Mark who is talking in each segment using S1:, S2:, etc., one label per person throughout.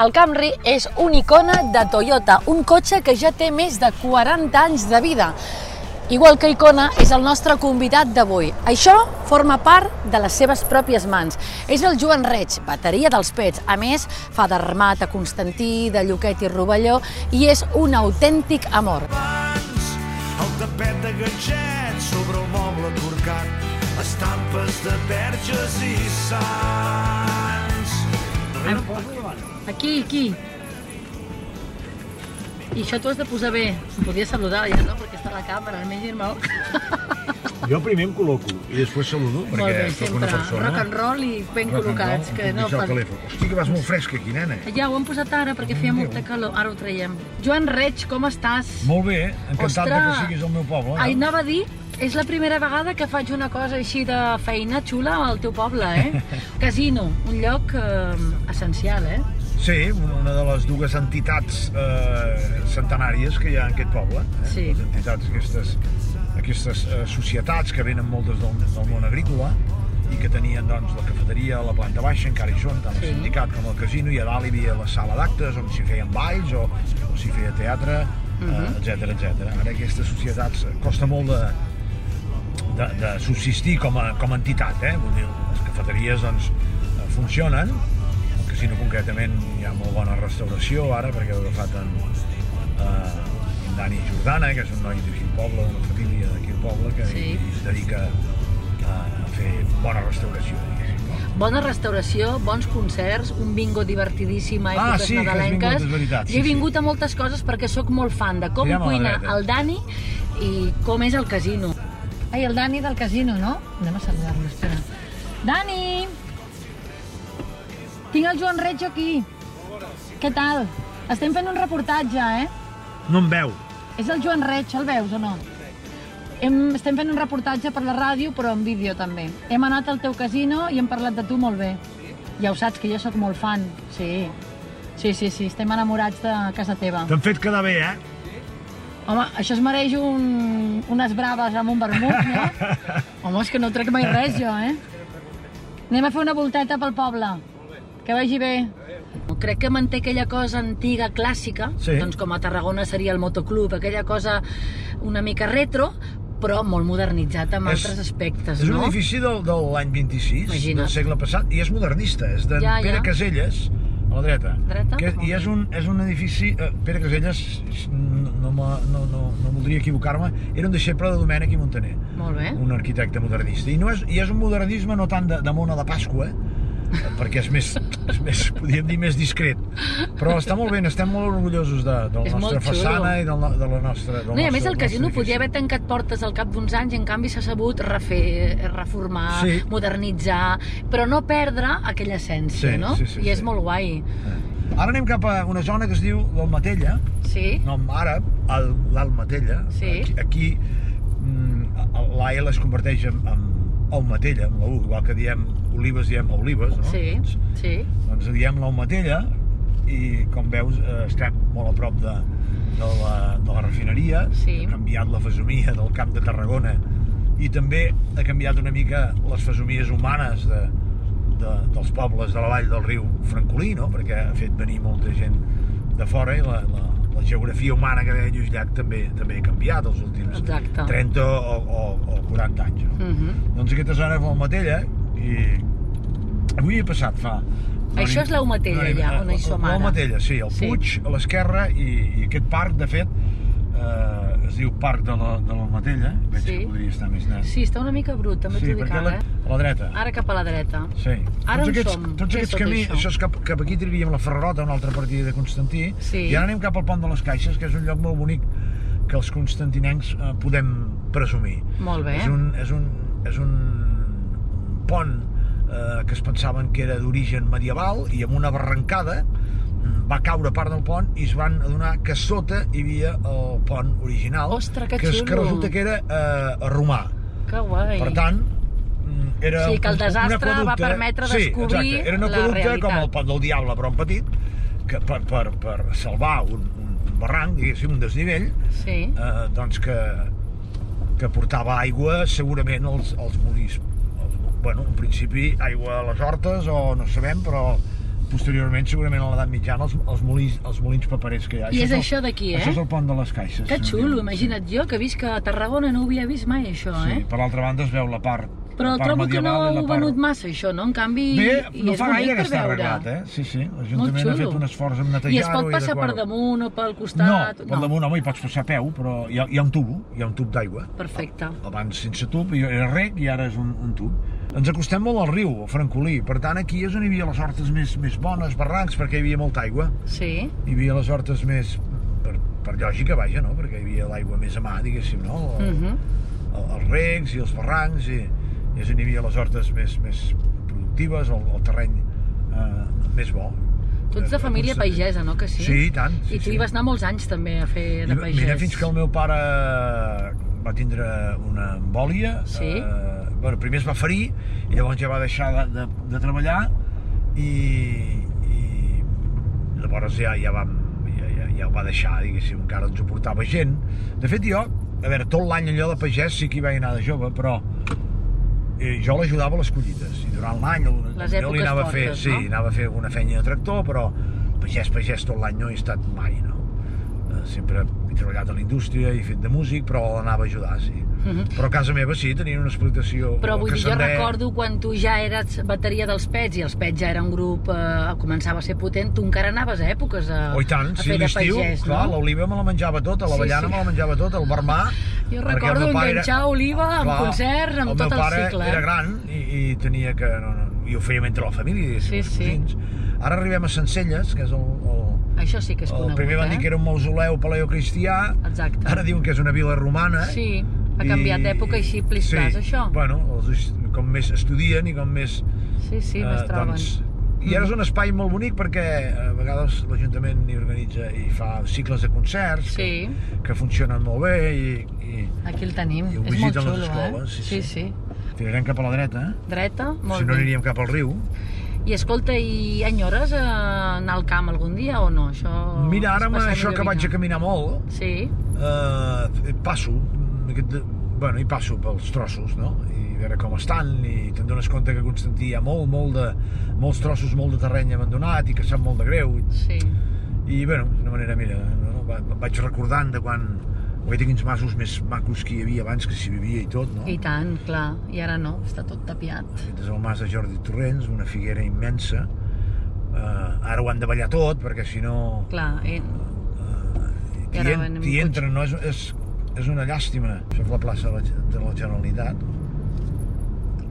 S1: El Camry és una icona de Toyota, un cotxe que ja té més de 40 anys de vida. Igual que Icona és el nostre convidat d'avui. Això forma part de les seves pròpies mans. És el Joan Reig, bateria dels Pets. A més, fa d'armat a Constantí, de Lloquet i Rovelló i és un autèntic amor.
S2: Abans, el tapet de ganxet sobre el moble corcat, estampes de verges i sants.
S1: Aquí, aquí. I això t'ho has de posar bé. Em podria saludar, ja no, perquè està la càmera, almenys dir-me...
S3: Jo primer em col·loco i després saludo
S1: Molt
S3: perquè
S1: bé,
S3: sóc
S1: sempre.
S3: una persona...
S1: Rock and roll i ben
S3: Rock and
S1: col·locats.
S3: roll,
S1: Que no,
S3: em puja el telèfon. Hosti, que vas molt fresca aquí, nena.
S1: Ja, ho hem posat ara perquè feia molta calor. Ara ho traiem. Joan Reig, com estàs?
S3: Molt bé, encantat de que
S1: Ostres!
S3: siguis al meu poble. eh?
S1: Ai, anava a dir, és la primera vegada que faig una cosa així de feina xula al teu poble, eh? Casino, un lloc eh, essencial, eh?
S3: Sí, una de les dues entitats eh, centenàries que hi ha en aquest poble. Eh?
S1: Sí.
S3: Les entitats, aquestes, aquestes eh, societats que venen moltes del, del món agrícola i que tenien doncs, la cafeteria a la planta baixa, encara hi són, tant el
S1: Sí.
S3: sindicat com el casino, i a dalt hi havia la sala d'actes on s'hi feien balls o, o s'hi feia teatre,
S1: Mhm.
S3: etc etc. Ara aquestes societats eh, costa molt de, de, de subsistir com a, com a entitat, eh? Vull dir, les cafeteries doncs, eh, funcionen, el casino concretament hi ha molt bona restauració ara, perquè heu agafat en, eh, en Dani Jordana, que és un noi d'aquí al poble, d'una família d'aquí al poble, que
S1: Sí.
S3: sí. es dedica a, a fer bona restauració, diguéssim.
S1: Bona restauració, bons concerts, un bingo divertidíssim a
S3: Ah,
S1: èpoques
S3: sí, que has
S1: nadalenques.
S3: vingut, és veritat,
S1: Jo
S3: sí,
S1: he
S3: sí.
S1: vingut a moltes coses perquè sóc molt fan de com
S3: Tirem a la
S1: cuina
S3: dreta.
S1: el Dani i com és el casino. Ai, el Dani del casino, no? Anem a saludar-lo, espera. Dani! Tinc el Joan Reig aquí. Què tal? Estem fent un reportatge, eh?
S3: No em veu.
S1: És el Joan Reig, el veus o no? Hem, estem fent un reportatge per la ràdio, però en vídeo també. Hem anat al teu casino i hem parlat de tu molt bé. Ja ho saps, que jo sóc molt fan. Sí, sí, sí, sí estem enamorats de casa teva.
S3: T'han fet quedar bé, eh?
S1: Home, això es mereix un, unes braves amb un vermut, no? Home, és que no trec mai res, jo, eh? Anem a fer una volteta pel poble. Que vagi bé. Crec que manté aquella cosa antiga, clàssica,
S3: Sí.
S1: doncs com a Tarragona seria el motoclub, aquella cosa una mica retro, però molt modernitzat amb
S3: És-
S1: altres aspectes,
S3: És un
S1: no?
S3: edifici del, de l'any 26,
S1: Imagina't.
S3: del segle passat, i és modernista, és d'en
S1: Ja, ja.
S3: Pere Caselles, a la dreta.
S1: Dreta?
S3: Que, I és un, és un edifici... Eh, Pere Caselles, no, no, me- no, no, no voldria equivocar-me, era un deixeble de Domènec i Montaner,
S1: Molt bé.
S3: un arquitecte modernista. I, no és, i és un modernisme no tant de, de mona de Pasqua, eh, perquè és més, és més, podríem dir, més discret. Però està molt ben, estem molt orgullosos de, de
S1: És
S3: la
S1: molt
S3: nostra
S1: xulo.
S3: façana i del, no- de la nostra... Del
S1: No, i a
S3: nostre-
S1: més el
S3: del
S1: casino
S3: nostre
S1: podia
S3: edifici.
S1: haver tancat portes al cap d'uns anys i en canvi s'ha sabut refer, reformar, sí.
S3: Sí.
S1: modernitzar, però no perdre aquella essència,
S3: Sí,
S1: no?
S3: sí, sí,
S1: I és
S3: sí.
S1: molt guai.
S3: Eh. Ara anem cap a una zona que es diu l'Almatella,
S1: Sí?
S3: nom àrab, al- l'Almatella.
S1: Sí.
S3: Aquí, aquí mm, a- la L es converteix en, en Almatella, amb la U, igual que diem olives, diem olives, no?
S1: Sí, sí.
S3: Doncs diem l'Almatella i, com veus, eh, estem molt a prop de, de, la, de la refineria.
S1: Sí.
S3: Ha canviat la fesomia del camp de Tarragona i també ha canviat una mica les fesomies humanes de, de, dels pobles de la vall del riu Francolí, no? perquè ha fet venir molta gent de fora i la, la, la geografia humana que deia Lluís Llach també, també ha canviat els últims
S1: Exacte.
S3: 30 o, o, o 40 anys. No?
S1: Mm -hmm.
S3: Doncs aquesta zona és l'Almatella eh? i avui he passat fa...
S1: Això és l'Aumatella, ja, on hi som ara.
S3: L'Aumatella, sí, el
S1: Sí.
S3: Puig a l'esquerra i, i aquest parc, de fet, eh, es diu Parc de la- de l'Almatella, veig
S1: Sí.
S3: que podria estar més net.
S1: Sí, està una mica brut, també t'ho dic
S3: perquè
S1: ara,
S3: la,
S1: eh?
S3: a la dreta.
S1: Ara cap a la dreta.
S3: Sí.
S1: Ara on
S3: tots aquests,
S1: som?
S3: Tots
S1: Què és
S3: aquests
S1: tot
S3: camins,
S1: això?
S3: això? és cap, cap aquí tiraríem la Ferrarota, una altra partida de Constantí,
S1: Sí.
S3: i ara anem cap al Pont de les Caixes, que és un lloc molt bonic que els constantinencs eh, podem presumir.
S1: Molt bé.
S3: És un, és un, és un pont eh, que es pensaven que era d'origen medieval i amb una barrancada mm, va caure part del pont i es van adonar que sota hi havia el pont original
S1: Ostres, que
S3: que, es- que
S1: xulo.
S3: resulta que era eh, romà
S1: Que guai.
S3: per tant, mm, era
S1: O sigui, que el
S3: un- un
S1: desastre
S3: aqueducte-
S1: va permetre
S3: sí,
S1: descobrir
S3: exacte, era un
S1: la
S3: aqueducte
S1: realitat.
S3: com el pot del diable, però en petit, que per, per, per salvar un, un barranc, diguéssim, un desnivell,
S1: Sí.
S3: eh, doncs que, que portava aigua segurament als, als molins. Els- Bueno, en principi aigua a les hortes o no sabem, però posteriorment, segurament a l'edat mitjana, els, els, molins, els molins paperers que hi ha.
S1: I és
S3: el-
S1: això d'aquí, eh?
S3: Això és el pont de les caixes.
S1: Que
S3: se'n
S1: xulo,
S3: diu.
S1: imagina't jo, que visc a Tarragona, no ho havia vist mai, això,
S3: Sí,
S1: eh?
S3: per l'altra banda es veu la part
S1: Però
S3: la part
S1: trobo que no
S3: medieval i la
S1: heu
S3: part...
S1: venut massa, això, no? En canvi,
S3: Bé,
S1: i
S3: no
S1: és
S3: fa
S1: bonic
S3: gaire que
S1: per
S3: està
S1: veure.
S3: arreglat, eh? Sí, sí, l'Ajuntament ha
S1: xulo.
S3: fet un esforç en
S1: I
S3: netejar-ho.
S1: es pot passar per
S3: adequar-ho.
S1: damunt o pel
S3: No,
S1: costat?
S3: per damunt, home, hi pots passar a peu, però hi ha, hi ha un tubo, hi ha un tub d'aigua.
S1: Perfecte.
S3: Abans sense tub, i era rec i ara és un, un tub. Ens acostem molt al riu, al Francolí, per tant aquí és on hi havia les hortes més, més bones, barrancs, perquè hi havia molta aigua.
S1: Sí.
S3: Hi havia les hortes més, per, per lògica, vaja, no? Perquè hi havia l'aigua més a mà, diguéssim, no? El,
S1: Mhm.
S3: el- els recs i els barrancs i, i és on hi havia les hortes més, més productives, el, el terreny eh, més bo. Eh,
S1: Tu ets de família paigesa, no? Que sí?
S3: Sí, i tant. Sí,
S1: I tu
S3: sí.
S1: hi vas anar molts anys també a fer de
S3: I va-
S1: pagès.
S3: Mira, fins que el meu pare va tindre una embòlia.
S1: Sí.
S3: Eh, bueno, primer es va ferir, i llavors ja va deixar de, de, de treballar i, i llavors ja, ja, vam, ja, ja, ja ho va deixar, diguéssim, encara ens ho portava gent. De fet, jo, a veure, tot l'any allò de pagès sí que hi vaig anar de jove, però eh, jo l'ajudava a les collites i durant l'any
S1: Les
S3: jo
S1: èpoques
S3: li anava a fer,
S1: fortes,
S3: sí,
S1: no?
S3: anava a fer alguna feina de tractor, però pagès, pagès tot l'any no he estat mai, no? Eh, Sempre he treballat a la indústria i he fet de músic, però l'anava a ajudar, sí.
S1: Mhm.
S3: Però a casa meva sí, tenien una explotació...
S1: Però
S3: el
S1: vull dir, jo
S3: cassander.
S1: recordo quan tu ja eres bateria dels Pets i els Pets ja era un grup, eh, començava a ser potent, tu encara anaves a èpoques a,
S3: Oh, i tant,
S1: a
S3: sí,
S1: fer de
S3: l'estiu,
S1: pagès,
S3: clar,
S1: no?
S3: l'oliva me la menjava tota,
S1: Sí,
S3: l'avellana
S1: sí.
S3: me la menjava tota, el vermà...
S1: Jo
S3: perquè el
S1: recordo
S3: meu pare
S1: enganxar oliva amb concerts, amb tot el
S3: El meu
S1: cicle, eh?
S3: pare era gran i, i tenia que... No, no, I ho fèiem entre la família, diguéssim,
S1: Sí,
S3: els
S1: sí.
S3: cosins. Ara arribem a Sencelles, que és el, el,
S1: Això sí que és
S3: el
S1: conegut,
S3: primer van
S1: eh?
S3: dir que era un mausoleu paleocristià,
S1: Exacte.
S3: ara diuen que és una vila romana. eh?
S1: Sí, ha canviat d'època i així plistàs,
S3: sí.
S1: això.
S3: Bueno, els, com més estudien i com més
S1: Sí, sí,
S3: Eh,
S1: les troben. Mm.
S3: I ara és un espai molt bonic perquè eh, a vegades l'Ajuntament hi organitza i fa cicles de concerts
S1: Sí.
S3: que, que funcionen molt bé i, i
S1: Aquí el tenim,
S3: I
S1: és
S3: ho
S1: molt
S3: visiten
S1: xulo,
S3: les
S1: eh?
S3: escoles, sí,
S1: sí,
S3: sí.
S1: sí.
S3: tirarem cap a la dreta, eh?
S1: Dreta, molt
S3: si no
S1: bé.
S3: aniríem cap al riu.
S1: I escolta, i enyores eh, anar al camp algun dia o no? Això...
S3: Mira,
S1: Oh, és
S3: ara amb
S1: passar
S3: això que
S1: millor
S3: vaig a
S1: vida.
S3: caminar molt,
S1: Sí,
S3: eh, passo, mm, aquest, de- bueno, hi passo pels trossos, no? I a veure com estan, i te'n dones compte que a Constantí hi ha molt, molt de, molts trossos, molt de terreny abandonat i que sap molt de greu, i
S1: sí.
S3: I, bueno, d'una manera, mira, no, no, va- vaig recordant de quan... Guaita quins masos més macos que hi havia abans, que s'hi vivia i tot, no?
S1: I tant, clar. I ara no, està tot tapiat.
S3: Aquest és el mas de Jordi Torrents, una figuera immensa. Uh, ara ho han de ballar tot, perquè si no...
S1: Clar, eh, I
S3: T'hi
S1: ara
S3: en,
S1: van amb
S3: t'hi
S1: cotxe.
S3: entren, no? És, és, és una llàstima. Això és la plaça de la, de la Generalitat.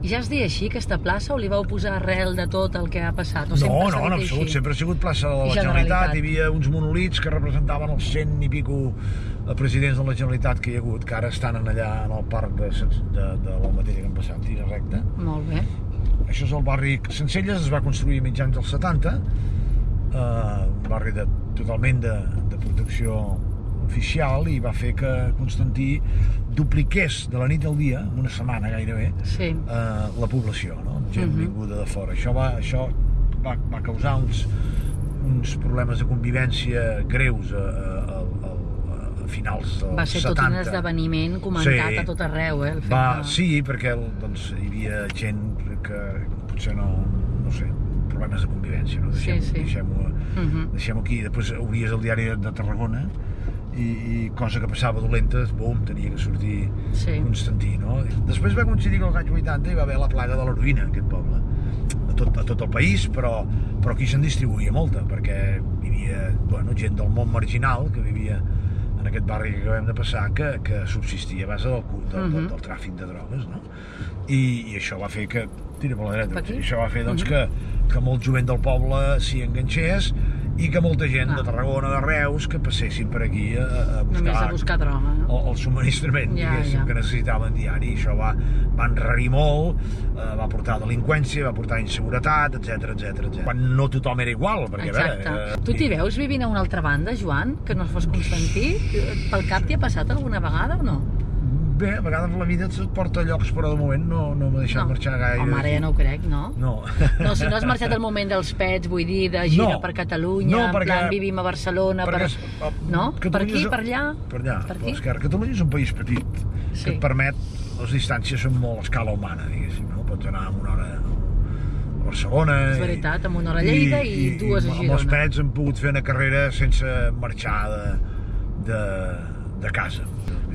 S1: ja es deia així, aquesta plaça, o li vau posar arrel de tot el que ha passat? O
S3: No,
S1: sempre
S3: no,
S1: ha
S3: no,
S1: estat
S3: en
S1: així?
S3: absolut, sempre ha sigut plaça de la
S1: Generalitat.
S3: Generalitat. Hi havia uns monolits que representaven els cent i pico eh, presidents de la Generalitat que hi ha hagut, que ara estan en allà en el parc de, Sens- de, de la mateixa que han passat, tira recta.
S1: Molt bé.
S3: Això és el barri Sencelles, es va construir a mitjans dels 70, eh, un barri de, totalment de, de protecció oficial i va fer que Constantí dupliqués de la nit al dia, en una setmana gairebé,
S1: Sí.
S3: eh, la població, no? amb gent
S1: Mhm.
S3: vinguda de fora. Això va, això va, va causar uns, uns problemes de convivència greus a, a, a, a, a finals dels 70.
S1: Va ser tot un esdeveniment comentat
S3: Sí.
S1: a tot arreu, eh? El fet
S3: Va,
S1: de-
S3: sí, perquè el- doncs, hi havia gent que potser no, no sé, problemes de convivència, no?
S1: Sí,
S3: Deixem,
S1: sí.
S3: Deixem-ho
S1: Mhm.
S3: deixem aquí, després obries el diari de Tarragona i, i cosa que passava dolenta, bum, tenia que sortir
S1: Sí.
S3: Constantí, no? Després va coincidir que als anys 80 hi va haver la plaga de l'heroïna, aquest poble. A tot, a tot el país, però, però aquí se'n distribuïa molta, perquè hi havia bueno, gent del món marginal que vivia en aquest barri que acabem de passar, que, que subsistia a base del, cu- del, del,
S1: Mhm.
S3: del tràfic de drogues, no? I, I això va fer que... Tira per la dreta.
S1: Per aquí?
S3: Això va fer
S1: Mhm.
S3: doncs, que, que molt jovent del poble s'hi enganxés i que molta gent de
S1: Ah.
S3: Tarragona, de Reus, que passessin per aquí a, a buscar,
S1: Només a buscar droga, no?
S3: el, el subministrament
S1: Ja,
S3: ja, diguéssim,
S1: ja.
S3: ja. que necessitaven diari. Això va, va enrarir molt, eh, va portar delinqüència, va portar inseguretat, etc etc etc. Quan no tothom era igual, perquè
S1: Exacte.
S3: a veure... eh,
S1: Tu t'hi veus vivint a una altra banda, Joan? Que no fos Constantí? Pel cap t'hi ha passat alguna vegada o no?
S3: Bé, a vegades la vida et porta a llocs, però de moment no, no m'ha deixat marxar gaire.
S1: Home, ara ja no ho crec, no?
S3: No.
S1: No, si no has marxat al moment dels pets, vull dir, de gira
S3: No.
S1: per Catalunya,
S3: No,
S1: en
S3: perquè-
S1: plan vivim a Barcelona,
S3: Perquè
S1: per...
S3: és- eh,
S1: no? Per
S3: Catalunya
S1: aquí,
S3: és-
S1: per allà?
S3: Per allà,
S1: Per
S3: per
S1: aquí?
S3: l'esquerra. Catalunya és un país petit,
S1: Sí.
S3: que et permet... Les distàncies són molt a escala humana, diguéssim, no? Pots anar en una hora... A Barcelona.
S1: És veritat, amb una hora a Lleida i dues a
S3: Amb els
S1: Girona.
S3: pets hem pogut fer una carrera sense marxar de, de, de casa.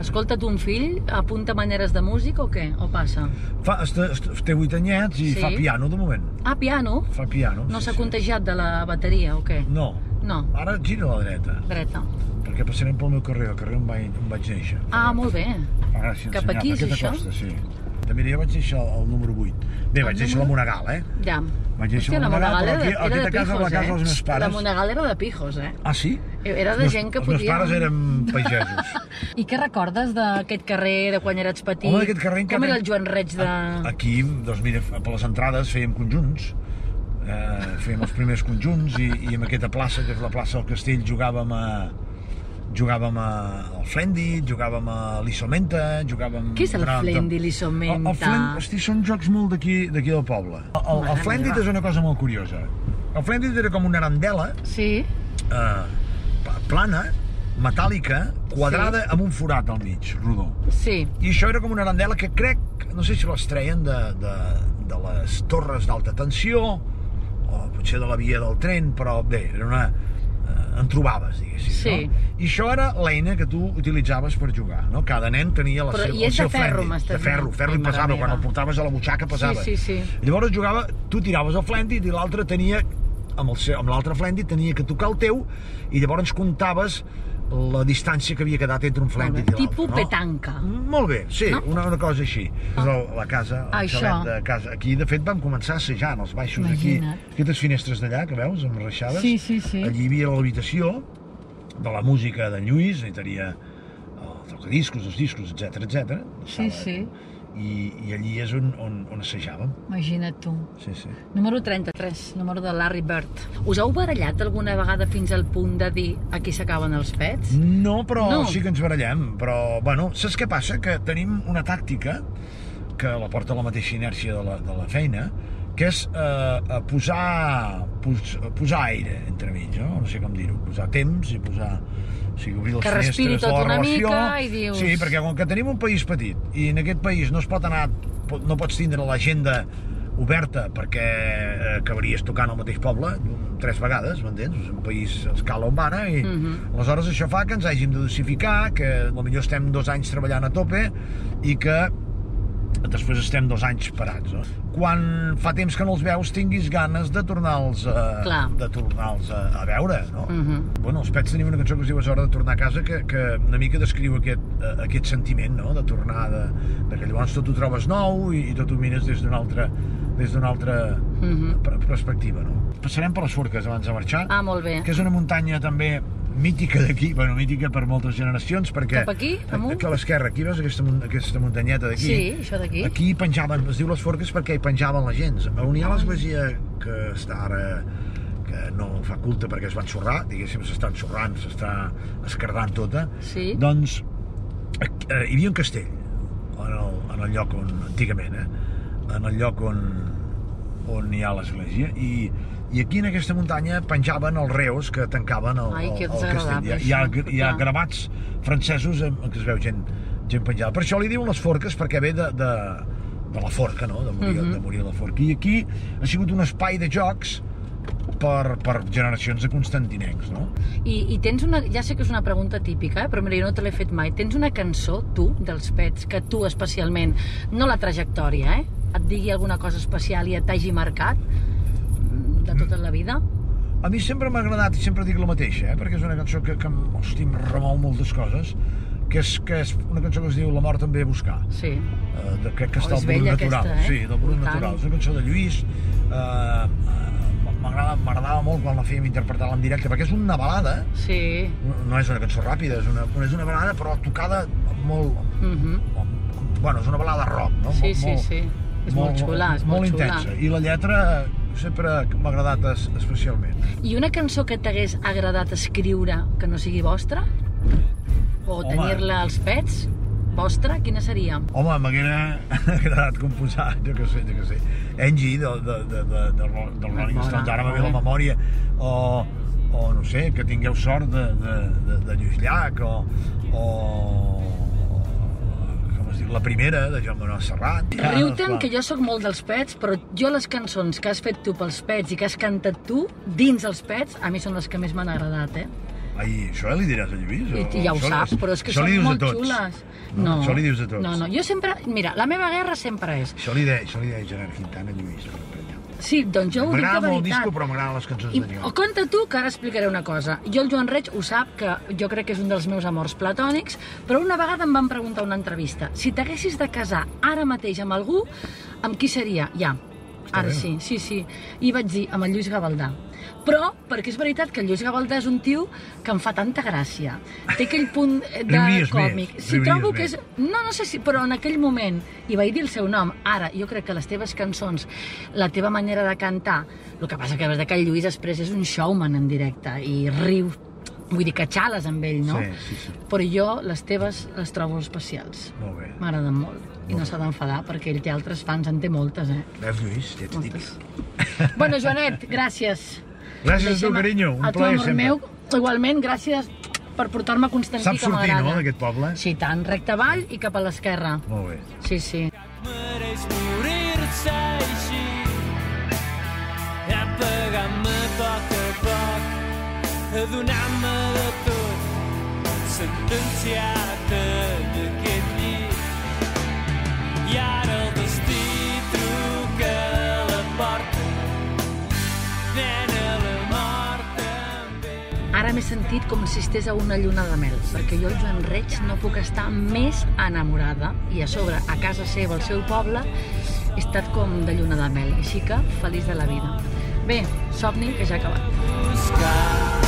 S1: Escolta, tu un fill apunta maneres de músic o què? O passa?
S3: Fa, est, est, té 8 anyets i
S1: Sí.
S3: sí. fa piano de moment.
S1: Ah, piano?
S3: Fa piano.
S1: No
S3: sí, Mm.
S1: s'ha
S3: sí.
S1: contagiat de la bateria o què?
S3: No.
S1: No,
S3: Ara gira a la dreta,
S1: dreta.
S3: perquè passarem pel meu carrer, el carrer on vaig, on vaig néixer.
S1: Ah, molt bé.
S3: Ah, gràcies,
S1: Cap aquí és
S3: senyor,
S1: això?
S3: Costa, sí. També, mira, jo vaig néixer al, al número 8. Bé,
S1: Al
S3: vaig néixer a la
S1: número-
S3: Monagal, eh?
S1: Ja.
S3: Vaig néixer a la Monagal, però aquí, aquí de casa, a la casa dels meus
S1: eh? La
S3: pares...
S1: Monagal era de pijos, eh?
S3: Ah, sí?
S1: Era
S3: Els
S1: de
S3: meus-
S1: gent que
S3: Els meus
S1: podia...
S3: pares érem pagesos.
S1: I què recordes d'aquest carrer, de quan eres petit?
S3: Home, d'aquest carrer encara-
S1: Com era el Joan Reig de...
S3: Aquí, doncs mira, per les entrades fèiem conjunts, eh, fèiem els primers conjunts i, i en aquesta plaça, que és la plaça del Castell, jugàvem a jugàvem a, al Flendi, jugàvem a l'Issomenta, jugàvem...
S1: Què és el
S3: jugàvem tot.
S1: Flendi, l'Issomenta?
S3: El, el Flendi, hosti, són jocs molt d'aquí d'aquí del poble. El, el,
S1: Mare
S3: el Flendi
S1: meva.
S3: és una cosa molt curiosa. El Flendi era com una arandela,
S1: Sí?
S3: eh, pla- plana, metàl·lica, quadrada, amb un forat al mig, rodó.
S1: Sí.
S3: I això era com una arandela que crec, no sé si les treien de, de, de les torres d'alta tensió, o potser de la via del tren, però bé, era una... Eh, en trobaves, diguéssim,
S1: Sí.
S3: no? I això era l'eina que tu utilitzaves per jugar, no? Cada nen tenia la
S1: Però-
S3: seva,
S1: i és
S3: el seu
S1: de ferro,
S3: flendi.
S1: m'estàs
S3: De ferro,
S1: dient?
S3: ferro
S1: Ai,
S3: i
S1: mare
S3: pesava, quan
S1: meva.
S3: el portaves a la butxaca pesava.
S1: Sí, sí, sí.
S3: Llavors jugava, tu tiraves el flendi i l'altre tenia, amb el seu- amb l'altre flendi tenia que tocar el teu i llavors comptaves la distància que havia quedat entre un flendi i l'altre.
S1: Tipus
S3: no?
S1: petanca.
S3: Molt bé, sí,
S1: No? Ah.
S3: no? una, una cosa així. És la, la casa, el
S1: Això.
S3: xalet de casa. Aquí, de fet, vam començar assajant els baixos
S1: Imagina't.
S3: aquí. Aquestes finestres d'allà, que veus, amb reixades.
S1: Sí, sí, sí.
S3: Allí hi havia l'habitació de la música d'en Lluís, hi tenia el tocadiscos, els discos, etc etc.
S1: Sí, sí.
S3: I, I allí és on, on, on assajàvem.
S1: Imagina't tu.
S3: Sí, sí.
S1: Número 33, número de Larry Bird. Us heu barallat alguna vegada fins al punt de dir aquí s'acaben els pets?
S3: No, però
S1: No.
S3: no. sí que ens barallem. Però, bueno, saps què passa? Que tenim una tàctica que la porta la mateixa inèrcia de la, de la feina, que és eh, a posar, pos, a posar aire entre mig, no? no sé com dir-ho, posar temps i posar... O sigui, obrir les
S1: Que
S3: finestres
S1: respiri tot
S3: de la
S1: una
S3: relació.
S1: mica i dius-
S3: Sí, perquè com que tenim un país petit i en aquest país no es pot anar, pot- no pots tindre l'agenda oberta perquè eh, acabaries tocant al mateix poble mm, tres vegades, m'entens? És un país a escala humana i
S1: Mhm.
S3: aleshores això fa que ens hàgim de dosificar, que potser estem dos anys treballant a tope i que després estem dos anys parats. No? Quan fa temps que no els veus, tinguis ganes de tornar-los a,
S1: Clar.
S3: de tornar-los a, a veure, no?
S1: Mhm.
S3: Bueno, els Pets tenim una cançó que es diu És hora de tornar a casa, que, que una mica descriu aquest, eh, aquest sentiment, no?, de tornar, de, de que llavors tot ho trobes nou i, i tot ho mires des d'una altra, des d'una altra eh,
S1: Mhm.
S3: per- perspectiva, no? Passarem per les Forques abans de marxar,
S1: Ah, molt bé.
S3: que és una muntanya també mítica d'aquí, bueno, mítica per moltes generacions, perquè...
S1: Cap aquí, amunt?
S3: Aquí a l'esquerra, aquí veus aquesta, mun- aquesta muntanyeta d'aquí? eh?
S1: Sí, això d'aquí.
S3: Aquí penjaven, es diu les forques perquè hi penjaven la gent. On hi ha l'església que està ara que no fa culte perquè es va ensorrar, diguéssim, s'està ensorrant, s'està escardant tota,
S1: Sí.
S3: doncs aquí, eh, hi havia un castell en el, en el lloc on, antigament, eh, en el lloc on, on hi ha l'església, i, i aquí en aquesta muntanya penjaven els reus que tancaven el,
S1: Ai,
S3: el,
S1: que
S3: el castell. Hi ha, hi ha,
S1: desagradable,
S3: hi ha
S1: això, clar.
S3: gravats francesos en, en què es veu gent, gent penjada. Per això li diuen les forques, perquè ve de, de, de la forca, no? De morir,
S1: Mhm.
S3: de morir a la forca. I aquí ha sigut un espai de jocs per, per generacions de constantinencs, no?
S1: I, I tens una... Ja sé que és una pregunta típica, eh? però mira, jo no te l'he fet mai. Tens una cançó, tu, dels Pets, que tu especialment, no la trajectòria, eh? et digui alguna cosa especial i et t'hagi marcat mm, de tota la vida?
S3: A mi sempre m'ha agradat i sempre dic la mateixa, eh? perquè és una cançó que, que em- hosti, em remou moltes coses, que és, que és una cançó que es diu La mort també a buscar.
S1: Sí.
S3: eh, de, crec
S1: Oh,
S3: que està
S1: és
S3: al Brut
S1: vella
S3: Natural.
S1: aquesta, eh?
S3: Sí, del
S1: I
S3: Brut
S1: tant.
S3: Natural. És una cançó de Lluís, eh, eh, m'agrada- m'agradava molt quan la fèiem interpretar en directe, perquè és una balada,
S1: Sí.
S3: no- no és una cançó ràpida, és una, és una balada però tocada molt...
S1: Mhm.
S3: Bueno, és una balada rock, no?
S1: Sí,
S3: Molt-
S1: sí,
S3: molt-
S1: sí. És molt xula, és molt xula.
S3: intensa. I la lletra sempre m'ha agradat es, especialment.
S1: I una cançó que t'hagués agradat escriure que no sigui vostra? O
S3: Home.
S1: tenir-la als pets? Vostra? Quina seria?
S3: Home, m'haguera agradat composar, jo que sé, jo que sé. Angie, de, de, de, de, de, Ro- del Rolling
S1: Bona,
S3: Stones, ara me ve
S1: molt
S3: la
S1: bé.
S3: memòria. O, o no sé, que tingueu sort de, de, de, de Lluís Llach, o, o, com es diu la primera de Joan Manuel Serrat.
S1: Riu-te'n, que jo sóc molt dels pets, però jo les cançons que has fet tu pels pets i que has cantat tu dins els pets, a mi són les que més m'han agradat, eh?
S3: Ai, això li diràs a Lluís?
S1: I, i ja ho
S3: Això-
S1: saps, però és que
S3: això
S1: són
S3: li dius a
S1: molt
S3: tots.
S1: xules.
S3: No, això li dius a tots.
S1: No, no, jo sempre... Mira, la meva guerra sempre és...
S3: Això li deia, això li deia Gerard Quintana a Lluís. per exemple.
S1: Sí, doncs jo ho dic de
S3: M'agrada
S1: veritat.
S3: molt el disco, però m'agraden les cançons
S1: I, oh,
S3: de
S1: o
S3: Joan.
S1: conta tu, que ara explicaré una cosa. Jo, el Joan Reig, ho sap, que jo crec que és un dels meus amors platònics, però una vegada em van preguntar a una entrevista si t'haguessis de casar ara mateix amb algú, amb qui seria? Ja. Ara
S3: bé.
S1: sí, sí, sí. I vaig dir, amb el Lluís Gavaldà. Però, perquè és veritat que el Lluís Gavaldà és un tio que em fa tanta gràcia. Té aquell punt eh, de
S3: Riuries més,
S1: còmic. Si
S3: riuries
S1: trobo que
S3: més.
S1: és... No, no sé si... Però en aquell moment, i vaig dir el seu nom, ara, jo crec que les teves cançons, la teva manera de cantar... El que passa que és que el Lluís després és un showman en directe i riu... Vull dir que xales amb ell, no?
S3: Sí, sí, sí.
S1: Però jo les teves les trobo especials.
S3: Molt bé.
S1: M'agraden molt. I no s'ha d'enfadar perquè ell té altres fans, en té moltes, eh?
S3: Veus, Lluís? Ja t'ho dic.
S1: Moltes. bueno, Joanet, gràcies.
S3: Gràcies a tu,
S1: Deixem
S3: carinyo. Un
S1: a tu,
S3: plaer
S1: amor
S3: sempre.
S1: meu, igualment, gràcies per portar-me a Constantí,
S3: Saps
S1: que
S3: sortir,
S1: m'agrada.
S3: no, d'aquest poble?
S1: Sí, i tant, recte avall i cap a l'esquerra.
S3: Molt bé.
S1: Sí, sí.
S4: mereix morir-se així. I apagant-me a poc a poc, adonant-me de tot, sentenciat en aquest llit. I ara el destí truca a la porta, nena, la mort també.
S1: Ara m'he sentit com si estés a una lluna de mel, perquè jo el Joan Reig no puc estar més enamorada i a sobre, a casa seva, al seu poble, he estat com de lluna de mel, així que feliç de la vida. Bé, somni, que ja ha acabat.
S4: buscar.